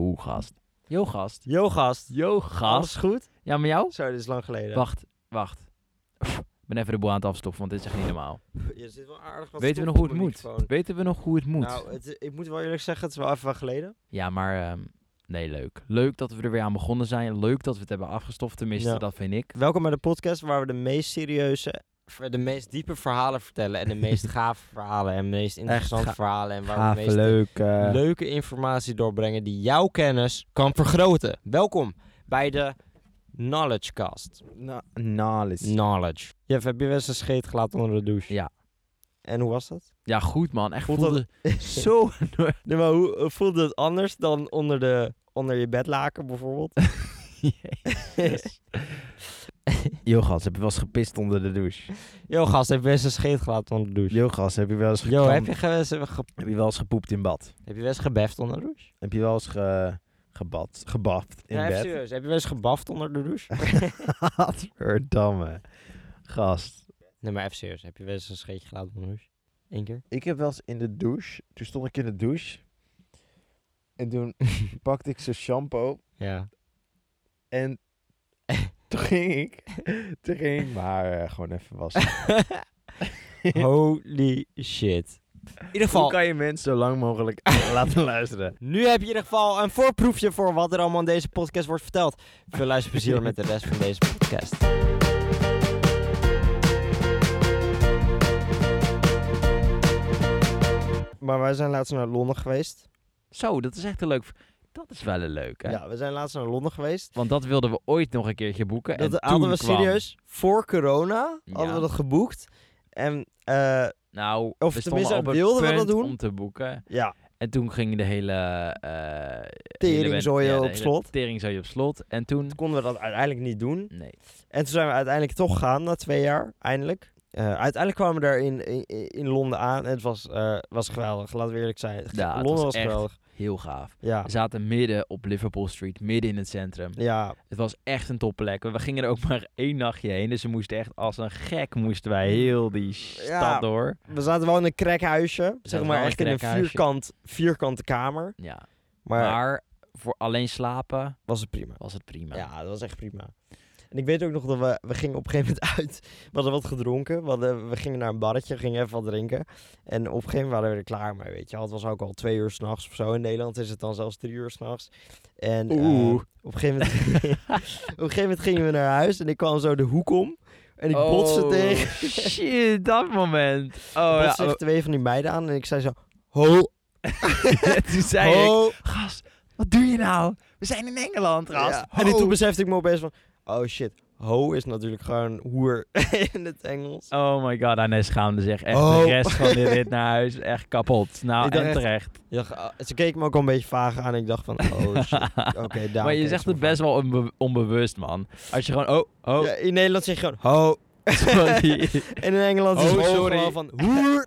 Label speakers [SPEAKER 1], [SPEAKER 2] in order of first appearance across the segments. [SPEAKER 1] Oeh, gast. Yo, gast.
[SPEAKER 2] Yo, gast.
[SPEAKER 1] Yo,
[SPEAKER 2] Alles
[SPEAKER 1] gast.
[SPEAKER 2] goed?
[SPEAKER 1] Ja, maar jou?
[SPEAKER 2] Zo, dit is lang geleden.
[SPEAKER 1] Wacht, wacht. Pff, Ik ben even de boel aan het afstoppen, want dit is echt niet normaal.
[SPEAKER 2] Je zit wel aardig wat
[SPEAKER 1] Weten we nog hoe
[SPEAKER 2] stof
[SPEAKER 1] het
[SPEAKER 2] op
[SPEAKER 1] moet?
[SPEAKER 2] mijn microfoon.
[SPEAKER 1] Weten we nog hoe het moet?
[SPEAKER 2] Nou, het, ik moet wel eerlijk zeggen, het is wel even wat geleden.
[SPEAKER 1] Ja, maar ehm, nee, leuk. Leuk dat we er weer aan begonnen zijn. Leuk dat we het hebben afgestoft, tenminste,
[SPEAKER 2] Ja.
[SPEAKER 1] dat vind ik.
[SPEAKER 2] Welkom bij de podcast waar we de meest serieuze, ver- de meest diepe verhalen vertellen. En de meest gave verhalen en de meest interessante
[SPEAKER 1] ga-
[SPEAKER 2] verhalen. En waar we de meest
[SPEAKER 3] leuk.
[SPEAKER 2] leuke informatie doorbrengen die jouw kennis kan vergroten. Welkom bij de Knowledgecast. Knowledge. Jeff, heb je wel eens een scheet gelaten onder de douche?
[SPEAKER 1] Ja.
[SPEAKER 2] En hoe was dat?
[SPEAKER 1] Ja, goed man. Echt
[SPEAKER 2] Voelt
[SPEAKER 1] voelde zo...
[SPEAKER 2] Nee, maar hoe eh, voelde het anders dan onder, de, onder je bedlaken bijvoorbeeld?
[SPEAKER 1] Jezus.
[SPEAKER 3] Jogas, heb je wel eens gepist onder de douche?
[SPEAKER 2] Yo gast, heb je wel eens een scheet gelaten onder de douche?
[SPEAKER 3] Jogas, heb je wel eens
[SPEAKER 2] Yo,
[SPEAKER 3] gekam-
[SPEAKER 2] heb je, ge- wel eens ge-
[SPEAKER 3] heb je wel eens gepoept in bad?
[SPEAKER 2] heb je wel eens gebeft onder de douche?
[SPEAKER 3] Heb je wel eens ge... gebad? Gebaft in
[SPEAKER 2] ja, even
[SPEAKER 3] bed?
[SPEAKER 2] serieus. Heb je wel eens gebaft onder de douche?
[SPEAKER 3] Verdamme. Gast.
[SPEAKER 2] nee, maar even serieus. Heb je wel eens een scheetje gelaten onder de douche? Eén keer?
[SPEAKER 3] Ik heb wel eens in de douche... Toen stond ik in de douche. En toen pakte ik zijn shampoo.
[SPEAKER 2] Ja.
[SPEAKER 3] En toen ging ik... Toen ging ik maar eh, gewoon even wassen.
[SPEAKER 2] Holy shit. In ieder
[SPEAKER 3] Hoe
[SPEAKER 2] geval,
[SPEAKER 3] kan je mensen zo lang mogelijk laten luisteren?
[SPEAKER 2] nu heb je in ieder geval een voorproefje voor wat er allemaal in deze podcast wordt verteld. Veel luisterplezier met de rest van deze podcast. Maar wij zijn laatst naar Londen geweest.
[SPEAKER 1] Zo, dat is echt een leuk... v- Dat is wel een leuk, hè?
[SPEAKER 2] Ja, we zijn laatst naar Londen geweest.
[SPEAKER 1] Want dat wilden we ooit nog een keertje boeken.
[SPEAKER 2] Dat
[SPEAKER 1] en
[SPEAKER 2] hadden
[SPEAKER 1] toen
[SPEAKER 2] we
[SPEAKER 1] kwam-
[SPEAKER 2] serieus voor corona
[SPEAKER 1] Ja.
[SPEAKER 2] hadden we dat geboekt. En eh,
[SPEAKER 1] Nou,
[SPEAKER 2] Of
[SPEAKER 1] we
[SPEAKER 2] tenminste,
[SPEAKER 1] stonden op het
[SPEAKER 2] wilden we dat
[SPEAKER 1] punt
[SPEAKER 2] doen?
[SPEAKER 1] om te boeken.
[SPEAKER 2] ja,
[SPEAKER 1] En toen ging de hele... eh
[SPEAKER 2] Teringzooi op slot.
[SPEAKER 1] Tering zou je op slot. En toen...
[SPEAKER 2] toen konden we dat uiteindelijk niet doen.
[SPEAKER 1] Nee.
[SPEAKER 2] En toen zijn we uiteindelijk toch gegaan na twee jaar, eindelijk. Eh, uiteindelijk kwamen we daar in, in, in Londen aan. En het was, eh, was geweldig, laten we eerlijk zijn. Het-
[SPEAKER 1] Ja, het
[SPEAKER 2] Londen was,
[SPEAKER 1] was echt-
[SPEAKER 2] geweldig.
[SPEAKER 1] Heel gaaf.
[SPEAKER 2] Ja,
[SPEAKER 1] We zaten midden op Liverpool Street, midden in het centrum.
[SPEAKER 2] ja.
[SPEAKER 1] Het was echt een topplek. We gingen er ook maar één nachtje heen. Dus we moesten echt als een gek moesten wij heel die stad
[SPEAKER 2] Ja.
[SPEAKER 1] door.
[SPEAKER 2] We zaten wel in een crackhuisje. Zeg
[SPEAKER 1] zaten
[SPEAKER 2] maar
[SPEAKER 1] wel in
[SPEAKER 2] echt
[SPEAKER 1] een
[SPEAKER 2] in een
[SPEAKER 1] crackhuisje.
[SPEAKER 2] vierkant, vierkante kamer.
[SPEAKER 1] Ja.
[SPEAKER 2] Maar,
[SPEAKER 1] Maar, voor alleen slapen
[SPEAKER 2] was het prima.
[SPEAKER 1] was het prima.
[SPEAKER 2] Ja, dat was echt prima. En ik weet ook nog dat we, we gingen op een gegeven moment uit. We hadden wat gedronken. We, hadden- we gingen naar een barretje, gingen even wat drinken. En op een gegeven moment waren we er klaar mee, weet je. wel. Het was ook al twee uur s'nachts of zo. In Nederland is het dan zelfs drie uur s'nachts. En eh,
[SPEAKER 1] Oeh.
[SPEAKER 2] op, een gegeven moment, op een gegeven moment gingen we naar huis. En ik kwam zo de hoek om. En ik
[SPEAKER 1] Oh,
[SPEAKER 2] botste tegen
[SPEAKER 1] Shit, dat moment. Oh ja.
[SPEAKER 2] botste tegen twee van die meiden aan. En ik zei zo, ho,
[SPEAKER 1] En oh. toen zei ik,
[SPEAKER 2] ho.
[SPEAKER 1] gast, wat doe je nou? We zijn in Engeland, gast.
[SPEAKER 2] Ja.
[SPEAKER 1] Ho.
[SPEAKER 2] En toen besefte ik me opeens van, oh shit. Ho is natuurlijk gewoon hoer in het Engels.
[SPEAKER 1] Oh my god, Anne schaamde zich echt
[SPEAKER 2] Oh.
[SPEAKER 1] de rest van dit rit naar huis. Echt kapot. Nou,
[SPEAKER 2] Ik dacht
[SPEAKER 1] en
[SPEAKER 2] echt-
[SPEAKER 1] terecht.
[SPEAKER 2] Ja, ge- ah, ze keek me ook al een beetje vaag aan. En ik dacht van, oh shit. Oké, daar.
[SPEAKER 1] maar je zegt het best wel onbe- onbewust, man. Als je gewoon, oh, oh,
[SPEAKER 2] Ja, in Nederland zeg je gewoon, ho.
[SPEAKER 1] sorry.
[SPEAKER 2] En in Engeland is
[SPEAKER 1] Oh,
[SPEAKER 2] het gewoon
[SPEAKER 1] sorry.
[SPEAKER 2] gewoon van, hoer.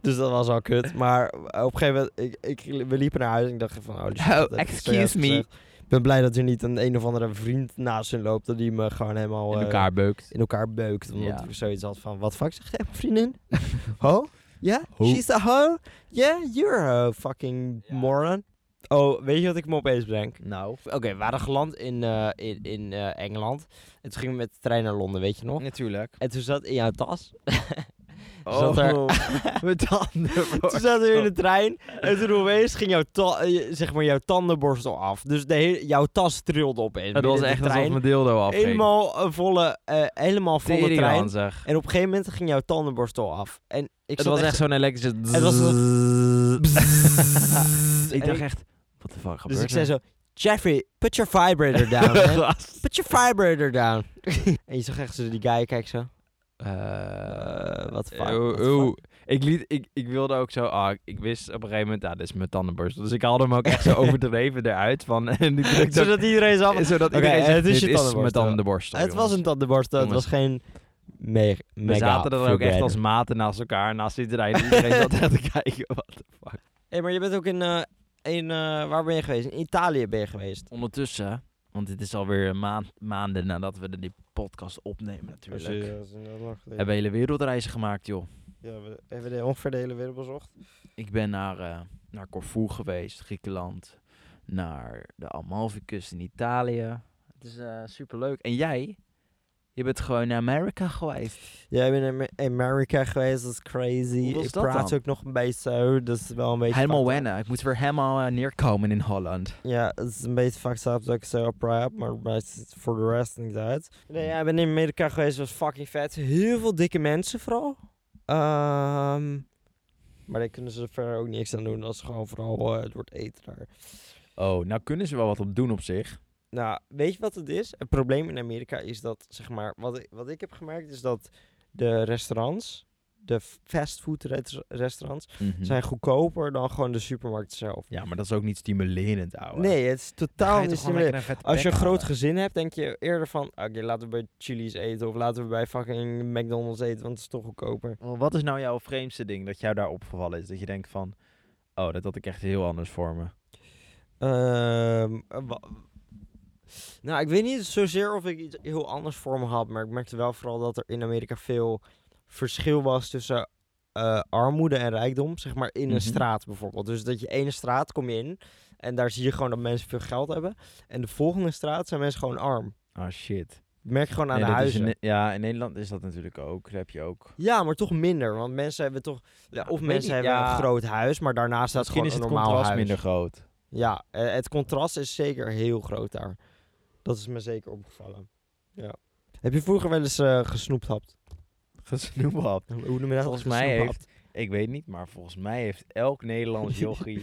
[SPEAKER 2] Dus dat was al kut. Maar eh, op een gegeven moment, ik, ik, we liepen naar huis en ik dacht van, oh, shit,
[SPEAKER 1] Oh,
[SPEAKER 2] dat heb ik
[SPEAKER 1] excuse
[SPEAKER 2] zojuist
[SPEAKER 1] me.
[SPEAKER 2] gezegd. Ik ben blij dat er niet een een of andere vriend naast hun loopt. Dat die me gewoon helemaal
[SPEAKER 1] in
[SPEAKER 2] eh,
[SPEAKER 1] elkaar beukt.
[SPEAKER 2] in elkaar beukt. Omdat
[SPEAKER 1] Ja.
[SPEAKER 2] ik zoiets had van, wat fuck zegt hij, vriendin? ho? Ja?
[SPEAKER 1] Ho.
[SPEAKER 2] She's a ho? Yeah, you're a fucking moron. Oh, weet je wat ik me opeens bedenk?
[SPEAKER 1] Nou,
[SPEAKER 2] Oké, we waren geland in, eh, in, in eh, Engeland. En toen gingen we met de trein naar Londen, weet
[SPEAKER 1] Oh.
[SPEAKER 2] je nog?
[SPEAKER 3] Natuurlijk.
[SPEAKER 2] En toen zat in jouw tas. Zat er-
[SPEAKER 1] Oh.
[SPEAKER 3] mijn tanden.
[SPEAKER 2] toen zaten we in de trein. En toen opeens ging jouw, ta- eh, zeg maar jouw tandenborstel af. Dus de hele, jouw tas trilde opeens.
[SPEAKER 1] het was
[SPEAKER 2] midden in
[SPEAKER 1] echt
[SPEAKER 2] de
[SPEAKER 1] alsof
[SPEAKER 2] trein.
[SPEAKER 1] mijn dildo afging.
[SPEAKER 2] Helemaal een volle, eh, helemaal volle
[SPEAKER 1] Tering,
[SPEAKER 2] trein.
[SPEAKER 1] man, zeg.
[SPEAKER 2] En op een gegeven moment ging jouw tandenborstel af. En ik
[SPEAKER 1] Het
[SPEAKER 2] zat
[SPEAKER 1] was echt zo'n elektrische...
[SPEAKER 2] Het was
[SPEAKER 1] bzzz.
[SPEAKER 2] En
[SPEAKER 1] Ik dacht
[SPEAKER 2] ik-
[SPEAKER 1] echt, wat de fuck gebeurt
[SPEAKER 2] Dus ik
[SPEAKER 1] er?
[SPEAKER 2] zei zo, Jeffrey, put your vibrator down. man.
[SPEAKER 1] Gast.
[SPEAKER 2] Put your vibrator down. en je zag echt zo die guy, kijk zo.
[SPEAKER 1] Eh,
[SPEAKER 2] wat de fuck,
[SPEAKER 1] eeuw,
[SPEAKER 2] wat de
[SPEAKER 1] eeuw. Ik, liet, ik, ik wilde ook zo... Ah, ik- ik wist op een gegeven moment... Ah, dit is mijn tandenborstel. Dus ik haalde hem ook echt zo overdreven eruit. Van, en die drukte ook-
[SPEAKER 2] Zodat iedereen zag.
[SPEAKER 1] eh, zodat
[SPEAKER 2] Oké,
[SPEAKER 1] iedereen
[SPEAKER 2] eh,
[SPEAKER 1] zegt,
[SPEAKER 2] het is je
[SPEAKER 1] dit is mijn
[SPEAKER 2] tandenborstel.
[SPEAKER 1] tandenborstel.
[SPEAKER 2] het was
[SPEAKER 1] jongens.
[SPEAKER 2] een tandenborstel, het
[SPEAKER 1] Jongens.
[SPEAKER 2] was geen me mega
[SPEAKER 1] We zaten er ook echt
[SPEAKER 2] vibrator.
[SPEAKER 1] als maten naast elkaar. Naast iedereen. Iedereen zat echt te kijken. Wat de fuck.
[SPEAKER 2] Hé, maar je bent ook in, eh, in eh, waar ben je geweest? In Italië ben je geweest.
[SPEAKER 1] Ondertussen... Want dit is alweer een maand, maanden nadat we die podcast opnemen natuurlijk.
[SPEAKER 2] eh,
[SPEAKER 1] Hebben hele wereldreizen gemaakt, joh.
[SPEAKER 2] Ja, we hebben de ongeveer de hele wereld bezocht.
[SPEAKER 1] Ik ben naar, eh, naar Corfu geweest, Griekenland. naar de Amalfi-kust in Italië. Het is eh superleuk. En jij? Je bent gewoon naar Amerika geweest.
[SPEAKER 2] Jij bent in Amerika geweest, dat is crazy.
[SPEAKER 1] Hoe was
[SPEAKER 2] ik
[SPEAKER 1] dat
[SPEAKER 2] praat
[SPEAKER 1] dan?
[SPEAKER 2] ook nog een beetje zo, dat is wel een beetje...
[SPEAKER 1] Helemaal
[SPEAKER 2] fucked up.
[SPEAKER 1] wennen. Ik moet weer helemaal eh, neerkomen in Holland.
[SPEAKER 2] Ja, het is een beetje fucked up dat ik zo praat, maar maar het ziet voor de rest niet uit. Nee, ja, ik ben in Amerika geweest, was fucking vet. Heel veel dikke mensen vooral. Ehm, maar daar kunnen ze verder ook niks aan doen, dat is gewoon vooral eh, door het eten daar.
[SPEAKER 1] Oh, nou kunnen ze wel wat op doen op zich.
[SPEAKER 2] Nou, weet je wat het is? Het probleem in Amerika is dat, zeg maar, wat ik, wat ik heb gemerkt is dat de restaurants, de fastfood res- restaurants, zijn goedkoper dan gewoon de supermarkt zelf.
[SPEAKER 1] Mhm. Ja, maar dat is ook niet stimulerend, ouwe.
[SPEAKER 2] Nee, het is totaal niet stimulerend. Als je een groot
[SPEAKER 1] gezin
[SPEAKER 2] gezin hebt, denk je eerder van, oké, laten we bij Chili's eten of laten we bij fucking McDonald's eten, want het is toch goedkoper.
[SPEAKER 1] Wat is nou jouw vreemdste ding dat jou daar opgevallen is? Dat je denkt van, oh, dat had ik echt heel anders voor me.
[SPEAKER 2] Ehm, eh, wa- nou, ik weet niet zozeer of ik iets heel anders voor me had, maar ik merkte wel vooral dat er in Amerika veel verschil was tussen eh, armoede en rijkdom, zeg maar in
[SPEAKER 1] Mhm.
[SPEAKER 2] een straat bijvoorbeeld. Dus dat je ene straat kom je in en daar zie je gewoon dat mensen veel geld hebben en de volgende straat zijn mensen gewoon arm.
[SPEAKER 1] Ah, shit.
[SPEAKER 2] Dat merk je gewoon aan
[SPEAKER 1] Nee,
[SPEAKER 2] de
[SPEAKER 1] dat is
[SPEAKER 2] huizen.
[SPEAKER 1] in- ja, in Nederland is dat natuurlijk ook. Daar heb je ook.
[SPEAKER 2] Ja, maar toch minder. Want mensen hebben toch. Ja,
[SPEAKER 1] ik
[SPEAKER 2] of
[SPEAKER 1] weet
[SPEAKER 2] mensen
[SPEAKER 1] niet,
[SPEAKER 2] hebben
[SPEAKER 1] ja.
[SPEAKER 2] een groot huis, maar daarnaast staat
[SPEAKER 1] Misschien
[SPEAKER 2] gewoon
[SPEAKER 1] is
[SPEAKER 2] een
[SPEAKER 1] het
[SPEAKER 2] normaal
[SPEAKER 1] contrast
[SPEAKER 2] huis.
[SPEAKER 1] minder groot.
[SPEAKER 2] Ja, eh, het contrast is zeker heel groot daar. Dat is me zeker opgevallen. Ja. Heb je vroeger wel eens eh, gesnoept hapt?
[SPEAKER 1] Gesnoephap.
[SPEAKER 2] Hoe noem je dat?
[SPEAKER 1] Volgens mij
[SPEAKER 2] Gesnoephapt?
[SPEAKER 1] Ik weet niet, maar volgens mij heeft elk Nederlands jochie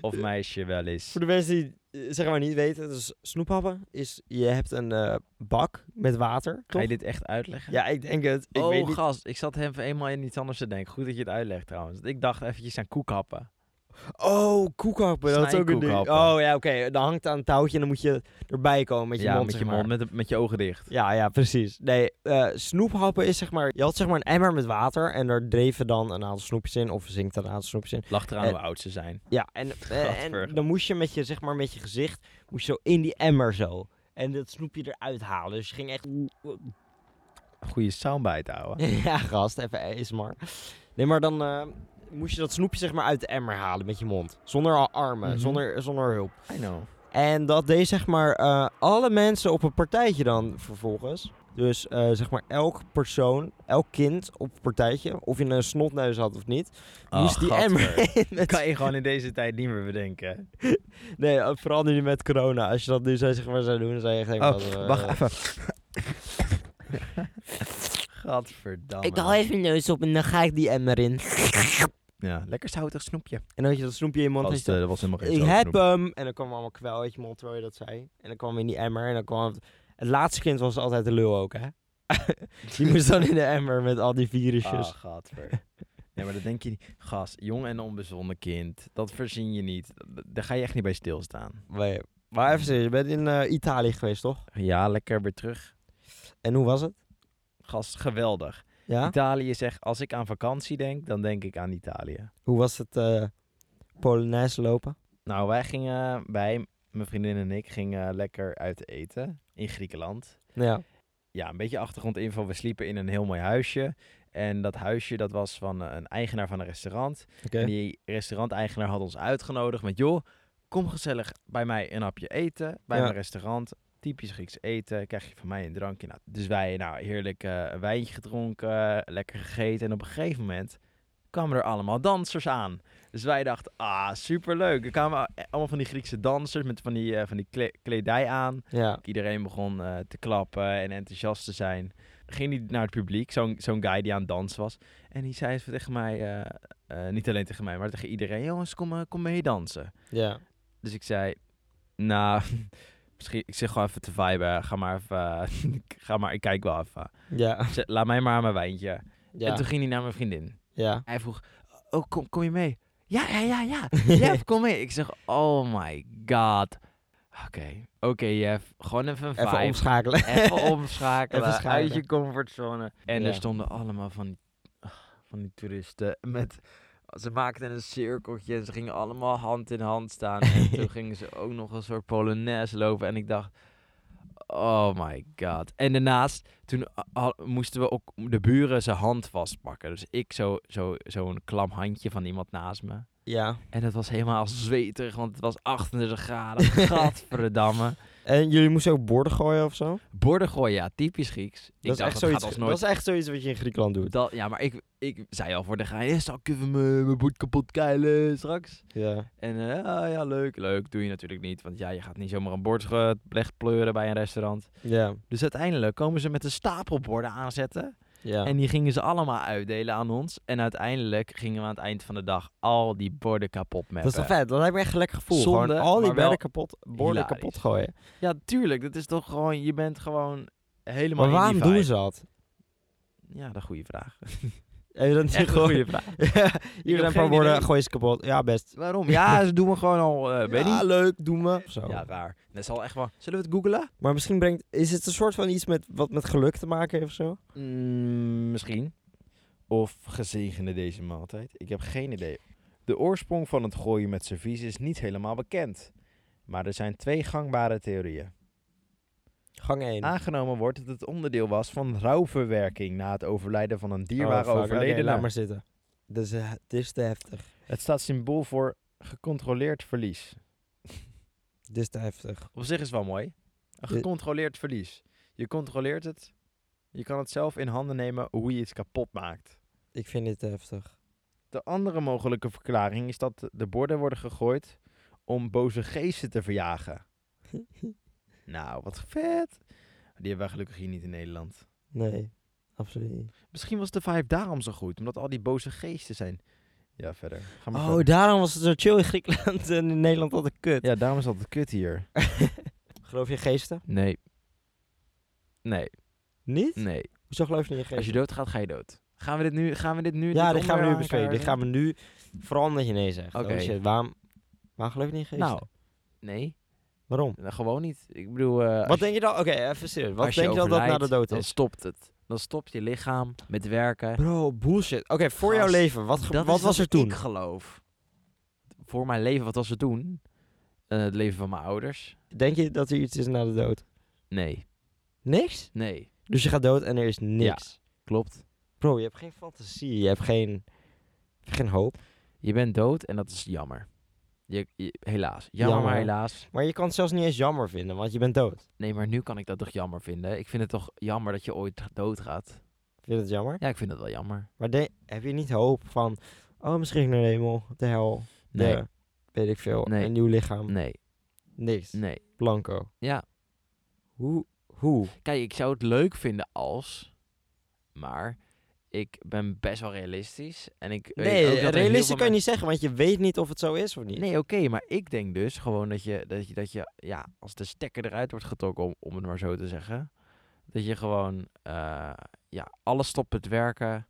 [SPEAKER 1] of meisje wel eens...
[SPEAKER 2] Voor de mensen die eh, zeg maar niet weten, dus snoephappen is je hebt een eh, bak met water,
[SPEAKER 1] Ga
[SPEAKER 2] toch?
[SPEAKER 1] je dit echt uitleggen?
[SPEAKER 2] Ja, ik denk het. Ik
[SPEAKER 1] oh,
[SPEAKER 2] weet niet.
[SPEAKER 1] gast. Ik zat even eenmaal in iets anders te denken. Goed dat je het uitlegt trouwens. Ik dacht eventjes aan koekhappen.
[SPEAKER 2] Oh, koekhappen, dat is ook een ding. Oh
[SPEAKER 1] Snijkoekhappen.
[SPEAKER 2] ja, oké. Dan hangt het aan een touwtje en dan moet je erbij komen met je
[SPEAKER 1] ja,
[SPEAKER 2] mond.
[SPEAKER 1] met je
[SPEAKER 2] zeg maar.
[SPEAKER 1] mond, met, de- met je ogen dicht.
[SPEAKER 2] Ja, ja, precies. Nee, eh, snoephappen is zeg maar... Je had zeg maar een emmer met water en daar dreven dan een aantal snoepjes in. Of zinkt er een aantal snoepjes in.
[SPEAKER 1] Lacht eraan
[SPEAKER 2] Eh,
[SPEAKER 1] hoe oud ze zijn.
[SPEAKER 2] Ja, en, eh, en
[SPEAKER 1] Gadver.
[SPEAKER 2] dan moest je met je, zeg maar, met je gezicht... Moest je zo in die emmer zo. En dat snoepje eruit halen. Dus je ging echt...
[SPEAKER 1] Goede soundbite, ouwe.
[SPEAKER 2] ja, gast, even ASMR. Nee, maar dan eh, moest je dat snoepje zeg maar uit de emmer halen met je mond. Zonder al armen,
[SPEAKER 1] Mhm.
[SPEAKER 2] zonder, zonder hulp.
[SPEAKER 1] I know.
[SPEAKER 2] En dat deed zeg maar eh, alle mensen op een partijtje dan vervolgens. Dus eh, zeg maar elk persoon, elk kind op een partijtje, of je een snotneus had of niet,
[SPEAKER 1] Oh,
[SPEAKER 2] moest die
[SPEAKER 1] gadver.
[SPEAKER 2] emmer in met-
[SPEAKER 1] Kan je gewoon in deze tijd niet meer bedenken.
[SPEAKER 2] Nee, eh, vooral nu met corona. Als je dat nu zou, zeg maar, zou doen, dan zou je echt denken... wat, eh,
[SPEAKER 1] Oh, even. Gadverdamme.
[SPEAKER 2] Ik haal even mijn neus op en dan ga ik die emmer in.
[SPEAKER 1] Ja, lekker zoutig snoepje.
[SPEAKER 2] En dan had je dat snoepje in je mond. en
[SPEAKER 1] Gast,
[SPEAKER 2] je zei,
[SPEAKER 1] eh, dat was helemaal geen
[SPEAKER 2] ik
[SPEAKER 1] zout
[SPEAKER 2] heb
[SPEAKER 1] snoep.
[SPEAKER 2] hem. En dan kwam er allemaal kwel uit je mond, terwijl je dat zei. En dan kwam in die emmer en dan kwam... Het, het laatste kind was altijd de lul ook, hè? die moest dan in de emmer met al die virusjes.
[SPEAKER 1] Ah, gadver. Nee, maar dat denk je niet. Gast, jong en onbezonnen kind. Dat verzin je niet. D- Daar ga je echt niet bij stilstaan.
[SPEAKER 2] Nee, maar even serieus, je bent in eh, Italië geweest, toch?
[SPEAKER 1] Ja, lekker weer terug.
[SPEAKER 2] En hoe was het?
[SPEAKER 1] Gast, geweldig.
[SPEAKER 2] Ja?
[SPEAKER 1] Italië is echt, als ik aan vakantie denk, dan denk ik aan Italië.
[SPEAKER 2] Hoe was het eh Polonaise lopen?
[SPEAKER 1] Nou, wij gingen, wij, mijn vriendin en ik, gingen lekker uit eten in Griekenland.
[SPEAKER 2] Ja.
[SPEAKER 1] ja, een beetje achtergrondinfo. We sliepen in een heel mooi huisje. En dat huisje, dat was van eh, een eigenaar van een restaurant.
[SPEAKER 2] Oké.
[SPEAKER 1] En die restauranteigenaar had ons uitgenodigd met... joh, kom gezellig bij mij een hapje eten, bij
[SPEAKER 2] Ja.
[SPEAKER 1] mijn restaurant. Typisch Grieks eten, krijg je van mij een drankje. Nou, dus wij, nou, heerlijk eh, een wijntje gedronken, lekker gegeten. En op een gegeven moment kwamen er allemaal dansers aan. Dus wij dachten, ah, superleuk. Er kwamen eh, allemaal van die Griekse dansers met van die, eh, van die kle- kledij aan.
[SPEAKER 2] Ja.
[SPEAKER 1] Iedereen begon eh, te klappen en enthousiast te zijn. Ging hij naar het publiek, zo'n zo'n guy die aan het dansen was. En die zei even tegen mij, eh, eh, niet alleen tegen mij, maar tegen iedereen... Jongens, kom, eh, kom mee dansen.
[SPEAKER 2] Ja.
[SPEAKER 1] Dus ik zei, nou, misschien, ik zeg gewoon even te viben. Ga maar even, eh, ik ga maar, ik kijk wel even.
[SPEAKER 2] Ja.
[SPEAKER 1] Ik zei, Laat mij maar aan mijn wijntje. En
[SPEAKER 2] Ja.
[SPEAKER 1] toen ging hij naar mijn vriendin.
[SPEAKER 2] Ja.
[SPEAKER 1] Hij vroeg, oh, kom, kom je mee? Ja, ja, ja, ja. Jeff, kom mee. Ik zeg, oh my god. Oké, oké Jeff, gewoon even een
[SPEAKER 2] Even
[SPEAKER 1] vibe.
[SPEAKER 2] omschakelen.
[SPEAKER 1] Even omschakelen.
[SPEAKER 2] Even schakelen.
[SPEAKER 1] uit je comfortzone. En
[SPEAKER 2] Ja.
[SPEAKER 1] er stonden allemaal van die, ah, van die toeristen met... Ze maakten een cirkeltje en ze gingen allemaal hand in hand staan. En toen gingen ze ook nog een soort polonaise lopen. En ik dacht, oh my god. En daarnaast, toen ha- moesten we ook de buren zijn hand vastpakken. Dus ik zo, zo, zo'n klam handje van iemand naast me.
[SPEAKER 2] Ja.
[SPEAKER 1] En het was helemaal zweterig, want het was 38 graden. Gadverdamme.
[SPEAKER 2] En jullie moesten ook borden gooien of zo?
[SPEAKER 1] Borden gooien, ja, typisch Grieks. Ik
[SPEAKER 2] Dat is, echt
[SPEAKER 1] dacht,
[SPEAKER 2] zoiets,
[SPEAKER 1] gaat ons
[SPEAKER 2] dat
[SPEAKER 1] nooit...
[SPEAKER 2] is echt zoiets wat je in Griekenland doet.
[SPEAKER 1] Dat, ja, maar ik, ik zei al voor de gein, zal ik even mijn mijn boet kapot keilen straks?
[SPEAKER 2] Ja.
[SPEAKER 1] En eh, ah, ja, leuk, leuk. Doe je natuurlijk niet, want ja, je gaat niet zomaar een bord eh, recht pleuren bij een restaurant.
[SPEAKER 2] Ja.
[SPEAKER 1] Dus uiteindelijk komen ze met een stapel borden aanzetten.
[SPEAKER 2] Ja.
[SPEAKER 1] En die gingen ze allemaal uitdelen aan ons. En uiteindelijk gingen we aan het eind van de dag al die borden kapot met.
[SPEAKER 2] dat is toch vet? Dat heb ik echt een lekker gevoel.
[SPEAKER 1] Zonde,
[SPEAKER 2] Gewoon al die
[SPEAKER 1] maar wel
[SPEAKER 2] borden kapot, borden
[SPEAKER 1] hilarisch.
[SPEAKER 2] kapot gooien.
[SPEAKER 1] Ja, tuurlijk. Dat is toch gewoon, je bent gewoon helemaal
[SPEAKER 2] Maar
[SPEAKER 1] in die
[SPEAKER 2] waarom
[SPEAKER 1] vibe.
[SPEAKER 2] doen ze dat?
[SPEAKER 1] Ja, dat is een goede vraag.
[SPEAKER 2] Even dat
[SPEAKER 1] Echt een goede vraag.
[SPEAKER 2] Hier zijn
[SPEAKER 1] heb
[SPEAKER 2] een paar
[SPEAKER 1] geen
[SPEAKER 2] borden,
[SPEAKER 1] idee.
[SPEAKER 2] gooi ze kapot. Ja, best.
[SPEAKER 1] Waarom? Ja, ze doen we gewoon al, eh weet
[SPEAKER 2] ja,
[SPEAKER 1] niet.
[SPEAKER 2] leuk, doen we. Of Zo.
[SPEAKER 1] Ja, raar. Dat zal echt wel. Zullen we het googlen?
[SPEAKER 2] Maar misschien brengt... Is het een soort van iets met, wat met geluk te maken heeft of zo?
[SPEAKER 1] Mm, misschien.
[SPEAKER 3] Of gezegende deze maaltijd? Ik heb geen idee. De oorsprong van het gooien met servies is niet helemaal bekend. Maar er zijn twee gangbare theorieën.
[SPEAKER 2] Gang 1.
[SPEAKER 1] Ah,
[SPEAKER 3] Aangenomen wordt dat het onderdeel was van rouwverwerking na het overlijden van een
[SPEAKER 1] Oh,
[SPEAKER 3] dierbare overledene.
[SPEAKER 2] Oh, laat maar zitten. Dat is, eh, dit is te heftig.
[SPEAKER 3] Het staat symbool voor gecontroleerd verlies.
[SPEAKER 2] Dit is te heftig.
[SPEAKER 1] Op zich is wel mooi. Een
[SPEAKER 2] Dit-
[SPEAKER 1] gecontroleerd verlies. Je controleert het. Je kan het zelf in handen nemen hoe je het kapot maakt.
[SPEAKER 2] Ik vind dit te heftig.
[SPEAKER 3] De andere mogelijke verklaring is dat de borden worden gegooid om boze geesten te verjagen. nou, wat vet.
[SPEAKER 1] Die hebben wij gelukkig hier niet in Nederland.
[SPEAKER 2] Nee, absoluut niet.
[SPEAKER 1] Misschien was de vibe daarom zo goed, omdat al die boze geesten zijn. Ja, verder. Ga maar
[SPEAKER 2] Oh,
[SPEAKER 1] verder.
[SPEAKER 2] daarom was het zo chill in Griekenland en in Nederland altijd kut.
[SPEAKER 3] Ja, daarom is dat kut hier.
[SPEAKER 2] Geloof je in geesten?
[SPEAKER 1] Nee. Nee,
[SPEAKER 2] Niet?
[SPEAKER 1] nee.
[SPEAKER 2] Hoezo geloof je niet in geesten?
[SPEAKER 1] Als je doodgaat, ga je dood. Gaan we dit nu, gaan we dit nu
[SPEAKER 2] ja,
[SPEAKER 1] dit
[SPEAKER 2] dit gaan we
[SPEAKER 1] onderwerp
[SPEAKER 2] nu
[SPEAKER 1] eh,
[SPEAKER 2] bespreken. Dit
[SPEAKER 1] aankaarten?
[SPEAKER 2] gaan we nu... Vooral omdat je nee zegt.
[SPEAKER 1] Oké.
[SPEAKER 2] Oh shit, waarom, waarom geloof je niet in geesten?
[SPEAKER 1] Nou, nee.
[SPEAKER 2] Waarom?
[SPEAKER 1] Nou, Gewoon niet. Ik bedoel... eh,
[SPEAKER 2] Wat denk je dan? Oké, even serieus. Wat
[SPEAKER 1] Als
[SPEAKER 2] denk je dan dat na
[SPEAKER 1] overlijdt,
[SPEAKER 2] de dood
[SPEAKER 1] Dan
[SPEAKER 2] is?
[SPEAKER 1] stopt het. Dan stopt je lichaam met werken.
[SPEAKER 2] Bro, bullshit. Oké, voor jouw
[SPEAKER 1] Gast,
[SPEAKER 2] leven. Wat, ge-
[SPEAKER 1] Dat
[SPEAKER 2] wat
[SPEAKER 1] is
[SPEAKER 2] was er toen?
[SPEAKER 1] Ik geloof. Voor mijn leven, wat was er toen? Eh, het leven van mijn ouders?
[SPEAKER 2] Denk je dat er iets is na de dood?
[SPEAKER 1] Nee.
[SPEAKER 2] Niks?
[SPEAKER 1] Nee.
[SPEAKER 2] Dus je gaat dood en er is niks.
[SPEAKER 1] Klopt.
[SPEAKER 2] Bro, je hebt geen fantasie. Je hebt geen, je hebt geen hoop.
[SPEAKER 1] Je bent dood en dat is jammer. Je, je- helaas. Jammer,
[SPEAKER 2] Jammer.
[SPEAKER 1] maar helaas.
[SPEAKER 2] Maar je kan het zelfs niet eens jammer vinden, want je bent dood.
[SPEAKER 1] Nee, maar nu kan ik dat toch jammer vinden. Ik vind het toch jammer dat je ooit doodgaat.
[SPEAKER 2] Vind je dat jammer?
[SPEAKER 1] Ja, ik vind dat wel jammer.
[SPEAKER 2] Maar de- heb je niet hoop van... Oh, misschien naar de hemel, de hel, de,
[SPEAKER 1] Nee.
[SPEAKER 2] weet ik veel,
[SPEAKER 1] Nee.
[SPEAKER 2] een nieuw lichaam.
[SPEAKER 1] Nee.
[SPEAKER 2] Niks.
[SPEAKER 1] Nee.
[SPEAKER 2] Blanco.
[SPEAKER 1] Ja.
[SPEAKER 2] Hoe? Hoe?
[SPEAKER 1] Kijk, ik zou het leuk vinden als. Maar ik ben best wel realistisch. En ik weet ook dat
[SPEAKER 2] Nee,
[SPEAKER 1] er heel veel
[SPEAKER 2] realistisch kan je
[SPEAKER 1] men-
[SPEAKER 2] niet zeggen, want je weet niet of het zo is of niet.
[SPEAKER 1] Nee, oké, maar ik denk dus gewoon dat je, dat je, dat je, ja, als de stekker eruit wordt getrokken, om, om het maar zo te zeggen, dat je gewoon, eh, ja, alles stopt met werken.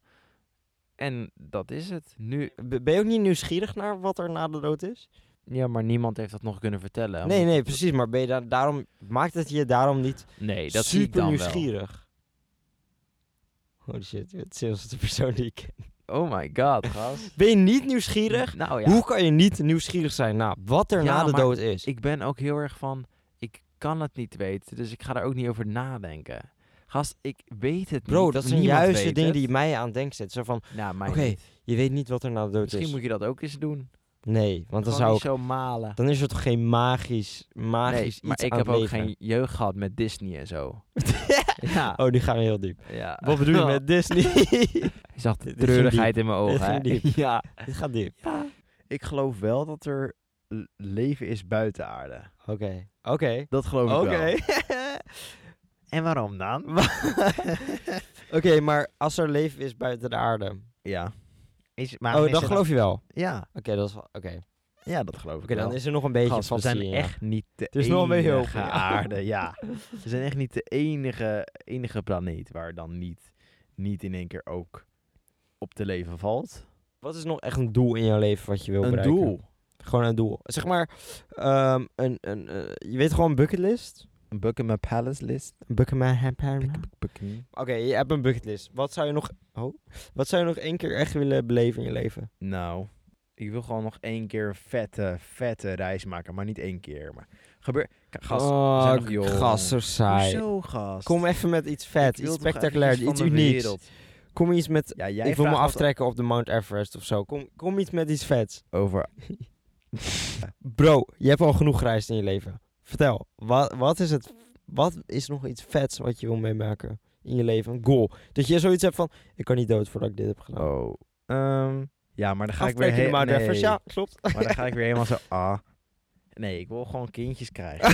[SPEAKER 1] En dat is het. Nu,
[SPEAKER 2] B- Ben je ook niet nieuwsgierig naar wat er na de dood is?
[SPEAKER 1] ja, maar niemand heeft dat nog kunnen vertellen.
[SPEAKER 2] nee,
[SPEAKER 1] want-
[SPEAKER 2] nee, precies. Maar ben je daar, daarom, maakt het je daarom niet
[SPEAKER 1] nee, dat zie ik
[SPEAKER 2] super
[SPEAKER 1] dan
[SPEAKER 2] nieuwsgierig? Holy shit, het is als de persoon die ik ken.
[SPEAKER 1] wel. Oh my god, gast.
[SPEAKER 2] Ben je niet nieuwsgierig?
[SPEAKER 1] Nou ja,
[SPEAKER 2] Hoe kan je niet nieuwsgierig zijn naar wat er
[SPEAKER 1] Ja,
[SPEAKER 2] na de
[SPEAKER 1] maar
[SPEAKER 2] dood is?
[SPEAKER 1] ik ben ook heel erg van, ik kan het niet weten, dus ik ga er ook niet over nadenken. Gast, ik weet het
[SPEAKER 2] Bro,
[SPEAKER 1] niet.
[SPEAKER 2] dat zijn
[SPEAKER 1] niemand
[SPEAKER 2] juist de
[SPEAKER 1] weet
[SPEAKER 2] dingen
[SPEAKER 1] het.
[SPEAKER 2] die mij aan het denken zetten. Zo van,
[SPEAKER 1] Nou, mij
[SPEAKER 2] Oké,
[SPEAKER 1] niet.
[SPEAKER 2] je weet niet wat er na de dood
[SPEAKER 1] Misschien
[SPEAKER 2] is.
[SPEAKER 1] moet je dat ook eens doen.
[SPEAKER 2] Nee, want dan
[SPEAKER 1] Gewoon
[SPEAKER 2] zou
[SPEAKER 1] niet
[SPEAKER 2] ik...
[SPEAKER 1] zo malen.
[SPEAKER 2] Dan is er toch geen magisch, magisch
[SPEAKER 1] Nee,
[SPEAKER 2] iets
[SPEAKER 1] maar ik
[SPEAKER 2] aan
[SPEAKER 1] heb
[SPEAKER 2] het
[SPEAKER 1] ook
[SPEAKER 2] leven?
[SPEAKER 1] geen jeugd gehad met Disney en zo. ja.
[SPEAKER 2] Oh, die gaan we heel diep.
[SPEAKER 1] ja.
[SPEAKER 2] Wat bedoel je met Disney? Oh,
[SPEAKER 1] Je zag de
[SPEAKER 2] Dit ging
[SPEAKER 1] treurigheid in mijn
[SPEAKER 2] Dit
[SPEAKER 1] ogen. hè?
[SPEAKER 2] ging diep.
[SPEAKER 1] Ja.
[SPEAKER 2] Dit gaat diep.
[SPEAKER 3] Ik geloof wel dat er l- leven is buiten aarde.
[SPEAKER 2] Oké. Oké.
[SPEAKER 1] Dat geloof
[SPEAKER 2] Oké.
[SPEAKER 3] En waarom dan?
[SPEAKER 2] Oké, maar als er leven is buiten de aarde.
[SPEAKER 3] Ja. Is, maar
[SPEAKER 2] oh,
[SPEAKER 3] is
[SPEAKER 2] dat
[SPEAKER 3] er-
[SPEAKER 2] geloof je wel. Oké,
[SPEAKER 3] Ja.
[SPEAKER 2] dat is wel. Oké.
[SPEAKER 3] ja, dat geloof ik
[SPEAKER 2] Oké,
[SPEAKER 3] wel.
[SPEAKER 2] dan is er nog een beetje
[SPEAKER 3] Gast, we
[SPEAKER 2] fantasie
[SPEAKER 3] zijn
[SPEAKER 2] in, ja.
[SPEAKER 3] echt niet de
[SPEAKER 2] eh, is nog een beetje
[SPEAKER 3] enige
[SPEAKER 2] hoop, ja.
[SPEAKER 3] aarde, ja. We zijn echt niet de enige, enige planeet waar dan niet, niet in één keer ook op te leven valt.
[SPEAKER 2] Wat is nog echt een doel in jouw leven wat je wil
[SPEAKER 3] Een
[SPEAKER 2] bereiken?
[SPEAKER 3] doel.
[SPEAKER 2] Gewoon een doel. Zeg maar, ehm, een, een, eh, je weet gewoon een bucketlist?
[SPEAKER 3] Een Buckingham Palace list.
[SPEAKER 2] Een bucketlist. Oké,
[SPEAKER 3] Buckingham.
[SPEAKER 2] je hebt een bucketlist. Wat zou je nog... Oh, wat zou je nog één keer echt willen beleven in je leven?
[SPEAKER 3] Nou, ik wil gewoon nog één keer een vette, vette reis maken. Maar niet één keer. Maar gebeur... K- Gast, we zijn
[SPEAKER 2] oh,
[SPEAKER 3] nog jong.
[SPEAKER 2] gast, zo saai.
[SPEAKER 3] Hoezo, gast?
[SPEAKER 2] Kom even met iets
[SPEAKER 3] Ik
[SPEAKER 2] vet,
[SPEAKER 3] wil
[SPEAKER 2] iets
[SPEAKER 3] toch echt
[SPEAKER 2] spectaculair,
[SPEAKER 3] van
[SPEAKER 2] iets
[SPEAKER 3] de
[SPEAKER 2] unieks.
[SPEAKER 3] wereld.
[SPEAKER 2] Kom iets met...
[SPEAKER 1] Ja, jij
[SPEAKER 2] ik wil me
[SPEAKER 1] vraagt wat
[SPEAKER 2] aftrekken op de Mount Everest of zo. Kom, kom iets met iets vets.
[SPEAKER 1] Over...
[SPEAKER 2] Bro, je hebt al genoeg gereisd in je leven. Vertel, wat, wat is het... Wat is nog iets vets wat je wil meemaken in je leven? Een goal. Dat je zoiets hebt van... Ik kan niet dood voordat ik dit heb gedaan.
[SPEAKER 1] Oh. Ehm, ja, maar dan ga ik weer...
[SPEAKER 2] Aftrekken de
[SPEAKER 1] he-
[SPEAKER 2] Mount
[SPEAKER 1] nee.
[SPEAKER 2] Everest. Ja, klopt.
[SPEAKER 1] Maar dan ga ik weer helemaal zo... Ah. Nee, ik wil gewoon kindjes krijgen.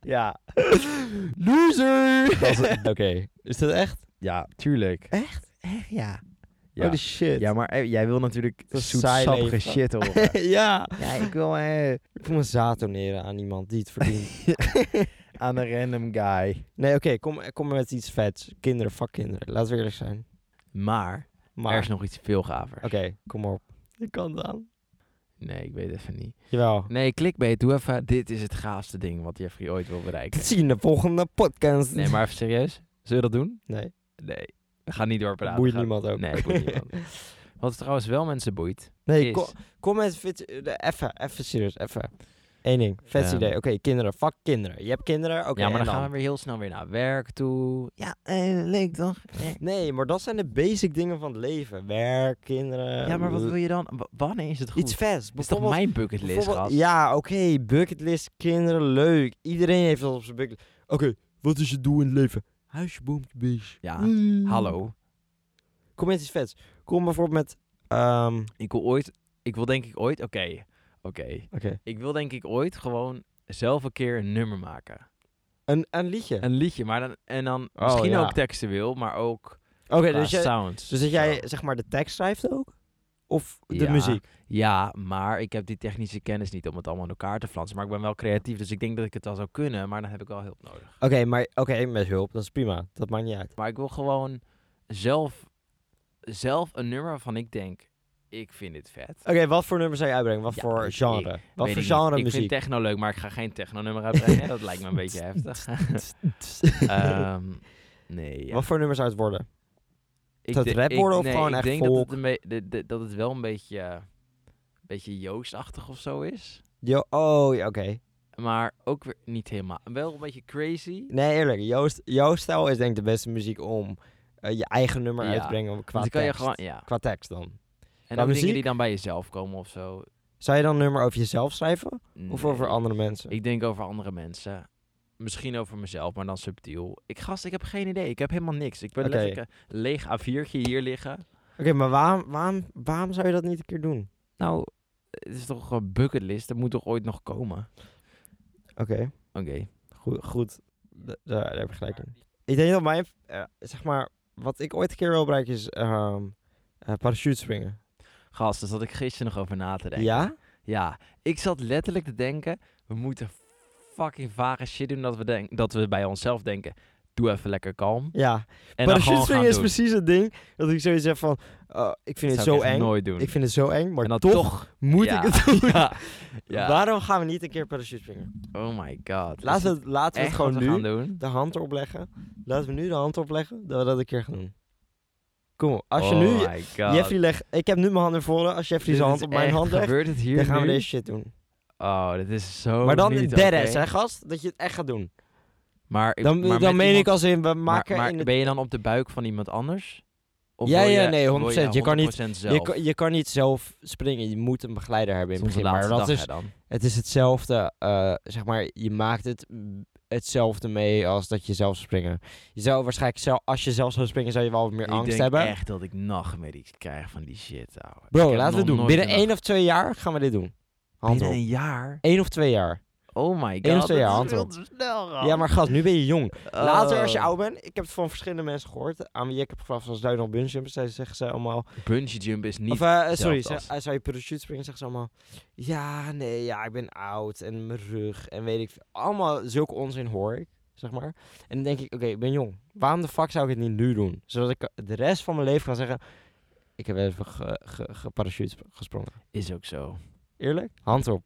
[SPEAKER 1] ja.
[SPEAKER 2] Loser! Oké, is dat echt?
[SPEAKER 1] Ja, tuurlijk.
[SPEAKER 2] Echt?
[SPEAKER 1] Echt, ja. Ja.
[SPEAKER 2] Holy shit.
[SPEAKER 1] Ja, maar eh, jij wil natuurlijk
[SPEAKER 2] Dat is
[SPEAKER 1] zoetsappige
[SPEAKER 2] saai leven.
[SPEAKER 1] shit horen.
[SPEAKER 2] ja.
[SPEAKER 1] ja, ik wil eh,
[SPEAKER 2] Ik voel me zaad doneren aan iemand die het verdient.
[SPEAKER 1] aan een random guy.
[SPEAKER 2] nee, oké, kom, kom maar met iets vets. Kinderen, fuck kinderen. Laten we eerlijk zijn.
[SPEAKER 1] Maar,
[SPEAKER 2] Maar,
[SPEAKER 1] er
[SPEAKER 2] oké,
[SPEAKER 1] is nog iets veel gaver.
[SPEAKER 2] kom op. Ik kan het aan.
[SPEAKER 1] Nee, ik weet even niet.
[SPEAKER 2] Jawel.
[SPEAKER 1] Nee, clickbait, doe even. Dit is het gaafste ding wat Jeffrey ooit wil bereiken.
[SPEAKER 2] Dat zie je in de volgende podcast.
[SPEAKER 1] Nee, maar even serieus. Zullen we dat doen?
[SPEAKER 2] Nee,
[SPEAKER 1] Nee. We gaan niet doorpraten.
[SPEAKER 2] boeit
[SPEAKER 1] Ga-
[SPEAKER 2] niemand ook.
[SPEAKER 1] Nee, boeit niemand. Wat trouwens wel mensen boeit.
[SPEAKER 2] Nee,
[SPEAKER 1] is-
[SPEAKER 2] kom, kom met fit, eh, even, even serieus, even. Eén ding, vets
[SPEAKER 1] Ehm.
[SPEAKER 2] idee. Oké, kinderen, fuck kinderen. Je hebt kinderen, oké,
[SPEAKER 1] ja, maar
[SPEAKER 2] en
[SPEAKER 1] dan, gaan we weer heel snel weer naar werk toe. Ja, eh, leuk toch? Eh.
[SPEAKER 2] Nee, maar dat zijn de basic dingen van het leven. Werk, kinderen.
[SPEAKER 1] Ja, maar wat
[SPEAKER 2] l-
[SPEAKER 1] wil je dan? W- wanneer is het goed?
[SPEAKER 2] Iets vets.
[SPEAKER 1] is toch
[SPEAKER 2] bijvoorbeeld-
[SPEAKER 1] mijn bucketlist,
[SPEAKER 2] Bijvoorbeeld-
[SPEAKER 1] gast?
[SPEAKER 2] Ja, oké, bucketlist, kinderen, leuk. Iedereen heeft dat op zijn bucketlist. Oké, wat is je doel in het leven? Huisje, boompje, beestje.
[SPEAKER 1] Ja,
[SPEAKER 2] Mm.
[SPEAKER 1] Hallo.
[SPEAKER 2] Kom met iets vets. Kom bijvoorbeeld met... ehm,
[SPEAKER 1] Ik wil ooit... Ik wil denk ik ooit... Oké. Oké.
[SPEAKER 2] oké,
[SPEAKER 1] Ik wil denk ik ooit gewoon zelf een keer een nummer maken.
[SPEAKER 2] een, een liedje.
[SPEAKER 1] Een liedje, maar dan... En dan
[SPEAKER 2] Oh,
[SPEAKER 1] misschien
[SPEAKER 2] ja.
[SPEAKER 1] ook textueel, maar ook
[SPEAKER 2] Oké,
[SPEAKER 1] qua
[SPEAKER 2] dus, jij,
[SPEAKER 1] sounds.
[SPEAKER 2] dus dat
[SPEAKER 1] Zo.
[SPEAKER 2] jij zeg maar de tekst schrijft ook? Of de
[SPEAKER 1] Ja.
[SPEAKER 2] muziek?
[SPEAKER 1] Ja, maar ik heb die technische kennis niet om het allemaal in elkaar te flansen. Maar ik ben wel creatief, dus ik denk dat ik het wel zou kunnen. Maar dan heb ik wel hulp nodig.
[SPEAKER 2] Oké, maar oké, met hulp, dat is prima. Dat maakt niet uit.
[SPEAKER 1] Maar ik wil gewoon zelf, zelf een nummer waarvan ik denk, ik vind dit vet.
[SPEAKER 2] Oké, wat voor nummer zou je uitbrengen? Wat
[SPEAKER 1] Ja,
[SPEAKER 2] voor
[SPEAKER 1] ik-
[SPEAKER 2] genre? wat
[SPEAKER 1] Weet
[SPEAKER 2] voor
[SPEAKER 1] ik niet.
[SPEAKER 2] genre
[SPEAKER 1] Ik vind
[SPEAKER 2] muziek?
[SPEAKER 1] techno leuk, maar ik ga geen techno-nummer uitbrengen. dat lijkt me een beetje heftig. Ehm, nee, ja.
[SPEAKER 2] Wat voor nummer zou het worden?
[SPEAKER 1] Ik
[SPEAKER 2] dat
[SPEAKER 1] de-
[SPEAKER 2] rap
[SPEAKER 1] ik-
[SPEAKER 2] worden of
[SPEAKER 1] nee,
[SPEAKER 2] gewoon
[SPEAKER 1] ik
[SPEAKER 2] echt
[SPEAKER 1] denk dat
[SPEAKER 2] folk?
[SPEAKER 1] het, een be- de- de- dat het wel een beetje, eh, beetje Joost-achtig of zo is.
[SPEAKER 2] Jo oh, ja, oké.
[SPEAKER 1] Maar ook weer niet helemaal. Wel een beetje crazy.
[SPEAKER 2] Nee, eerlijk. Joost, jouw stijl is denk ik de beste muziek om eh, je eigen nummer
[SPEAKER 1] Ja,
[SPEAKER 2] uit te brengen qua
[SPEAKER 1] Dan
[SPEAKER 2] tekst.
[SPEAKER 1] kan je gewoon, ja.
[SPEAKER 2] Qua tekst dan.
[SPEAKER 1] En dan
[SPEAKER 2] Qua
[SPEAKER 1] dingen die
[SPEAKER 2] muziek?
[SPEAKER 1] dan bij jezelf komen of zo.
[SPEAKER 2] Zou je dan een nummer over jezelf schrijven? Of
[SPEAKER 1] Nee.
[SPEAKER 2] over andere mensen?
[SPEAKER 1] Ik denk over andere mensen. Misschien over mezelf, maar dan subtiel. Ik gast, ik heb geen idee. Ik heb helemaal niks. Ik ben
[SPEAKER 2] Oké.
[SPEAKER 1] letterlijk een leeg A4'tje hier liggen.
[SPEAKER 2] Oké, maar waarom, waarom, waarom zou je dat niet een keer doen?
[SPEAKER 1] Nou, het is toch een bucketlist. Dat moet toch ooit nog komen?
[SPEAKER 2] Oké,
[SPEAKER 1] Oké.
[SPEAKER 2] goed. goed. Da- Daar, daar heb ik gelijk in. Ik denk dat mijn... eh, zeg maar, wat ik ooit een keer wil bereiken is ehm eh, parachute springen.
[SPEAKER 1] Gast, daar zat ik gisteren nog over na te denken.
[SPEAKER 2] Ja?
[SPEAKER 1] Ja. Ik zat letterlijk te denken, we moeten fucking vage shit doen dat we, denk, dat we bij onszelf denken. Doe even lekker kalm.
[SPEAKER 2] Ja.
[SPEAKER 1] En dan
[SPEAKER 2] parachute
[SPEAKER 1] gewoon gaan
[SPEAKER 2] springen is
[SPEAKER 1] doen.
[SPEAKER 2] precies het ding dat ik zoiets heb van... eh, ik vind
[SPEAKER 1] Dat
[SPEAKER 2] het
[SPEAKER 1] zou
[SPEAKER 2] zo
[SPEAKER 1] ik echt
[SPEAKER 2] eng.
[SPEAKER 1] nooit doen.
[SPEAKER 2] Ik vind het zo eng, maar
[SPEAKER 1] en dan
[SPEAKER 2] toch,
[SPEAKER 1] toch...
[SPEAKER 2] moet
[SPEAKER 1] Ja.
[SPEAKER 2] ik het doen.
[SPEAKER 1] Ja. ja.
[SPEAKER 2] Waarom gaan we niet een keer parachute springen?
[SPEAKER 1] Oh my god. Is
[SPEAKER 2] Laten
[SPEAKER 1] dit
[SPEAKER 2] we, laten we
[SPEAKER 1] echt
[SPEAKER 2] het gewoon
[SPEAKER 1] wat we gaan
[SPEAKER 2] nu
[SPEAKER 1] doen.
[SPEAKER 2] de hand opleggen. Laten we nu de hand opleggen dat we dat een keer gaan doen. Kom op, als je nu...
[SPEAKER 1] Oh my god.
[SPEAKER 2] Jeffrey legt... Ik heb nu mijn hand naar voren. Als Jeffrey
[SPEAKER 1] Dit
[SPEAKER 2] zijn
[SPEAKER 1] is
[SPEAKER 2] hand op mijn
[SPEAKER 1] echt-
[SPEAKER 2] hand legt,
[SPEAKER 1] Gebeurt het hier
[SPEAKER 2] dan gaan
[SPEAKER 1] nu?
[SPEAKER 2] we deze shit doen.
[SPEAKER 1] Oh, dit is zo
[SPEAKER 2] maar dan
[SPEAKER 1] niet
[SPEAKER 2] dead
[SPEAKER 1] oké.
[SPEAKER 2] ass, hè gast? Dat je het echt gaat doen.
[SPEAKER 1] Maar, ik-
[SPEAKER 2] Dan,
[SPEAKER 1] maar
[SPEAKER 2] dan
[SPEAKER 1] met
[SPEAKER 2] meen
[SPEAKER 1] iemand-
[SPEAKER 2] ik als in, we
[SPEAKER 1] maar-
[SPEAKER 2] maken
[SPEAKER 1] maar,
[SPEAKER 2] in de...
[SPEAKER 1] ben je dan op de buik van iemand anders? Of
[SPEAKER 2] Ja,
[SPEAKER 1] wil
[SPEAKER 2] ja,
[SPEAKER 1] je-
[SPEAKER 2] nee,
[SPEAKER 1] wil
[SPEAKER 2] 100%. Je kan niet-
[SPEAKER 1] 100% zelf.
[SPEAKER 2] Je kan, je kan niet zelf springen, je moet een begeleider hebben in
[SPEAKER 1] Soms
[SPEAKER 2] het
[SPEAKER 1] de
[SPEAKER 2] begin. Maar
[SPEAKER 1] laatste
[SPEAKER 2] dat
[SPEAKER 1] dag,
[SPEAKER 2] is,
[SPEAKER 1] hè, dan.
[SPEAKER 2] het is hetzelfde, eh, zeg maar, je maakt het mm, hetzelfde mee als dat je zelf zou springen. Je zou waarschijnlijk, zelf, als je zelf zou springen, zou je wel wat meer
[SPEAKER 1] Ik
[SPEAKER 2] angst
[SPEAKER 1] denk
[SPEAKER 2] hebben.
[SPEAKER 1] echt dat ik nachtmerries krijg van die shit, ouwe. Ik
[SPEAKER 2] Bro,
[SPEAKER 1] heb
[SPEAKER 2] laten we
[SPEAKER 1] nog
[SPEAKER 2] het doen.
[SPEAKER 1] nooit
[SPEAKER 2] Binnen
[SPEAKER 1] een
[SPEAKER 2] één
[SPEAKER 1] nacht-
[SPEAKER 2] of twee jaar gaan we dit doen. Hand
[SPEAKER 1] Binnen
[SPEAKER 2] op.
[SPEAKER 1] een jaar?
[SPEAKER 2] Eén of twee jaar.
[SPEAKER 1] Oh my god,
[SPEAKER 2] twee
[SPEAKER 1] dat is
[SPEAKER 2] jaar, hand
[SPEAKER 1] veel
[SPEAKER 2] op.
[SPEAKER 1] te snel, gast.
[SPEAKER 2] Ja, maar gast, nu ben je jong. Later, als je
[SPEAKER 1] Oh.
[SPEAKER 2] oud bent, ik heb het van verschillende mensen gehoord, aan wie ik heb gevraagd, zoals Duinal Bunjump, zij zeggen ze allemaal...
[SPEAKER 1] Bungee jump is niet...
[SPEAKER 2] of, eh, sorry,
[SPEAKER 1] hetzelfde
[SPEAKER 2] ze,
[SPEAKER 1] als-
[SPEAKER 2] eh, zou je parachute springen, zeggen ze allemaal... Ja, nee, ja, ik ben oud en mijn rug en weet ik... veel." Allemaal zulke onzin hoor ik, zeg maar. En dan denk ik, oké, ik ben jong. Waarom de fuck zou ik het niet nu doen? Zodat ik de rest van mijn leven kan zeggen... Ik heb even ge, ge- geparachute gesprongen.
[SPEAKER 1] Is ook zo.
[SPEAKER 2] Eerlijk? Hand op.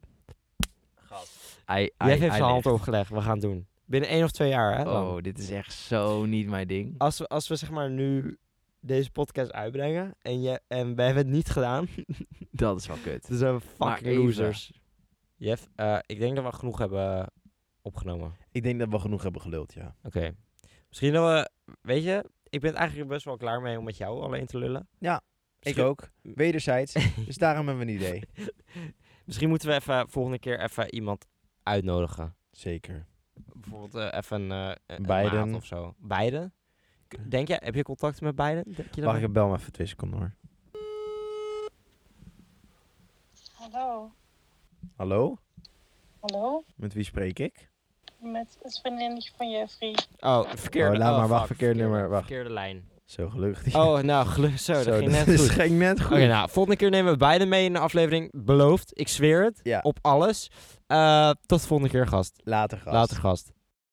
[SPEAKER 1] Hij,
[SPEAKER 2] Jij heeft zijn hand opgelegd. We gaan het doen. Binnen één of twee jaar, hè? dan.
[SPEAKER 1] Oh, dit is echt zo niet mijn ding.
[SPEAKER 2] Als, we, als we zeg maar nu deze podcast uitbrengen en, je, en we hebben het niet gedaan,
[SPEAKER 1] Dat is wel kut.
[SPEAKER 2] dan zijn we fucking
[SPEAKER 1] even.
[SPEAKER 2] losers. Jeff, eh, ik denk dat we genoeg hebben opgenomen.
[SPEAKER 3] Ik denk dat we genoeg hebben geluld, ja.
[SPEAKER 2] Oké. Misschien dat we, weet je, ik ben eigenlijk best wel klaar mee om met jou alleen te lullen.
[SPEAKER 1] Ik
[SPEAKER 2] Misschien-
[SPEAKER 1] ook. Wederzijds. dus daarom hebben we een idee.
[SPEAKER 2] Misschien moeten we even eh, volgende keer even iemand uitnodigen.
[SPEAKER 1] Zeker.
[SPEAKER 2] Bijvoorbeeld eh, even een, eh, een
[SPEAKER 1] Biden.
[SPEAKER 2] maat of zo. Beiden? Denk jij, heb je contact met beiden? Denk je dat
[SPEAKER 1] Wacht, ik bel me even twee seconden hoor.
[SPEAKER 4] Hallo,
[SPEAKER 1] Hallo?
[SPEAKER 4] hallo.
[SPEAKER 1] Met wie spreek ik?
[SPEAKER 4] Met het vriendinnetje van Jeffrey.
[SPEAKER 2] Oh, verkeerde.
[SPEAKER 1] Oh, laat maar, wacht,
[SPEAKER 2] fuck,
[SPEAKER 1] verkeerd nummer,
[SPEAKER 2] verkeerde-
[SPEAKER 1] wacht.
[SPEAKER 2] Verkeerde lijn.
[SPEAKER 1] Zo gelukkig. die-
[SPEAKER 2] Oh, nou, gelukkig zo, dat
[SPEAKER 1] Zo,
[SPEAKER 2] ging net
[SPEAKER 1] dat
[SPEAKER 2] goed.
[SPEAKER 1] ging net goed.
[SPEAKER 2] Oké, nou, volgende keer nemen we beiden mee in de aflevering. Beloofd, ik zweer het.
[SPEAKER 1] Ja.
[SPEAKER 2] Op alles. Eh, tot de volgende keer, gast.
[SPEAKER 1] Later, gast.
[SPEAKER 2] Later, gast.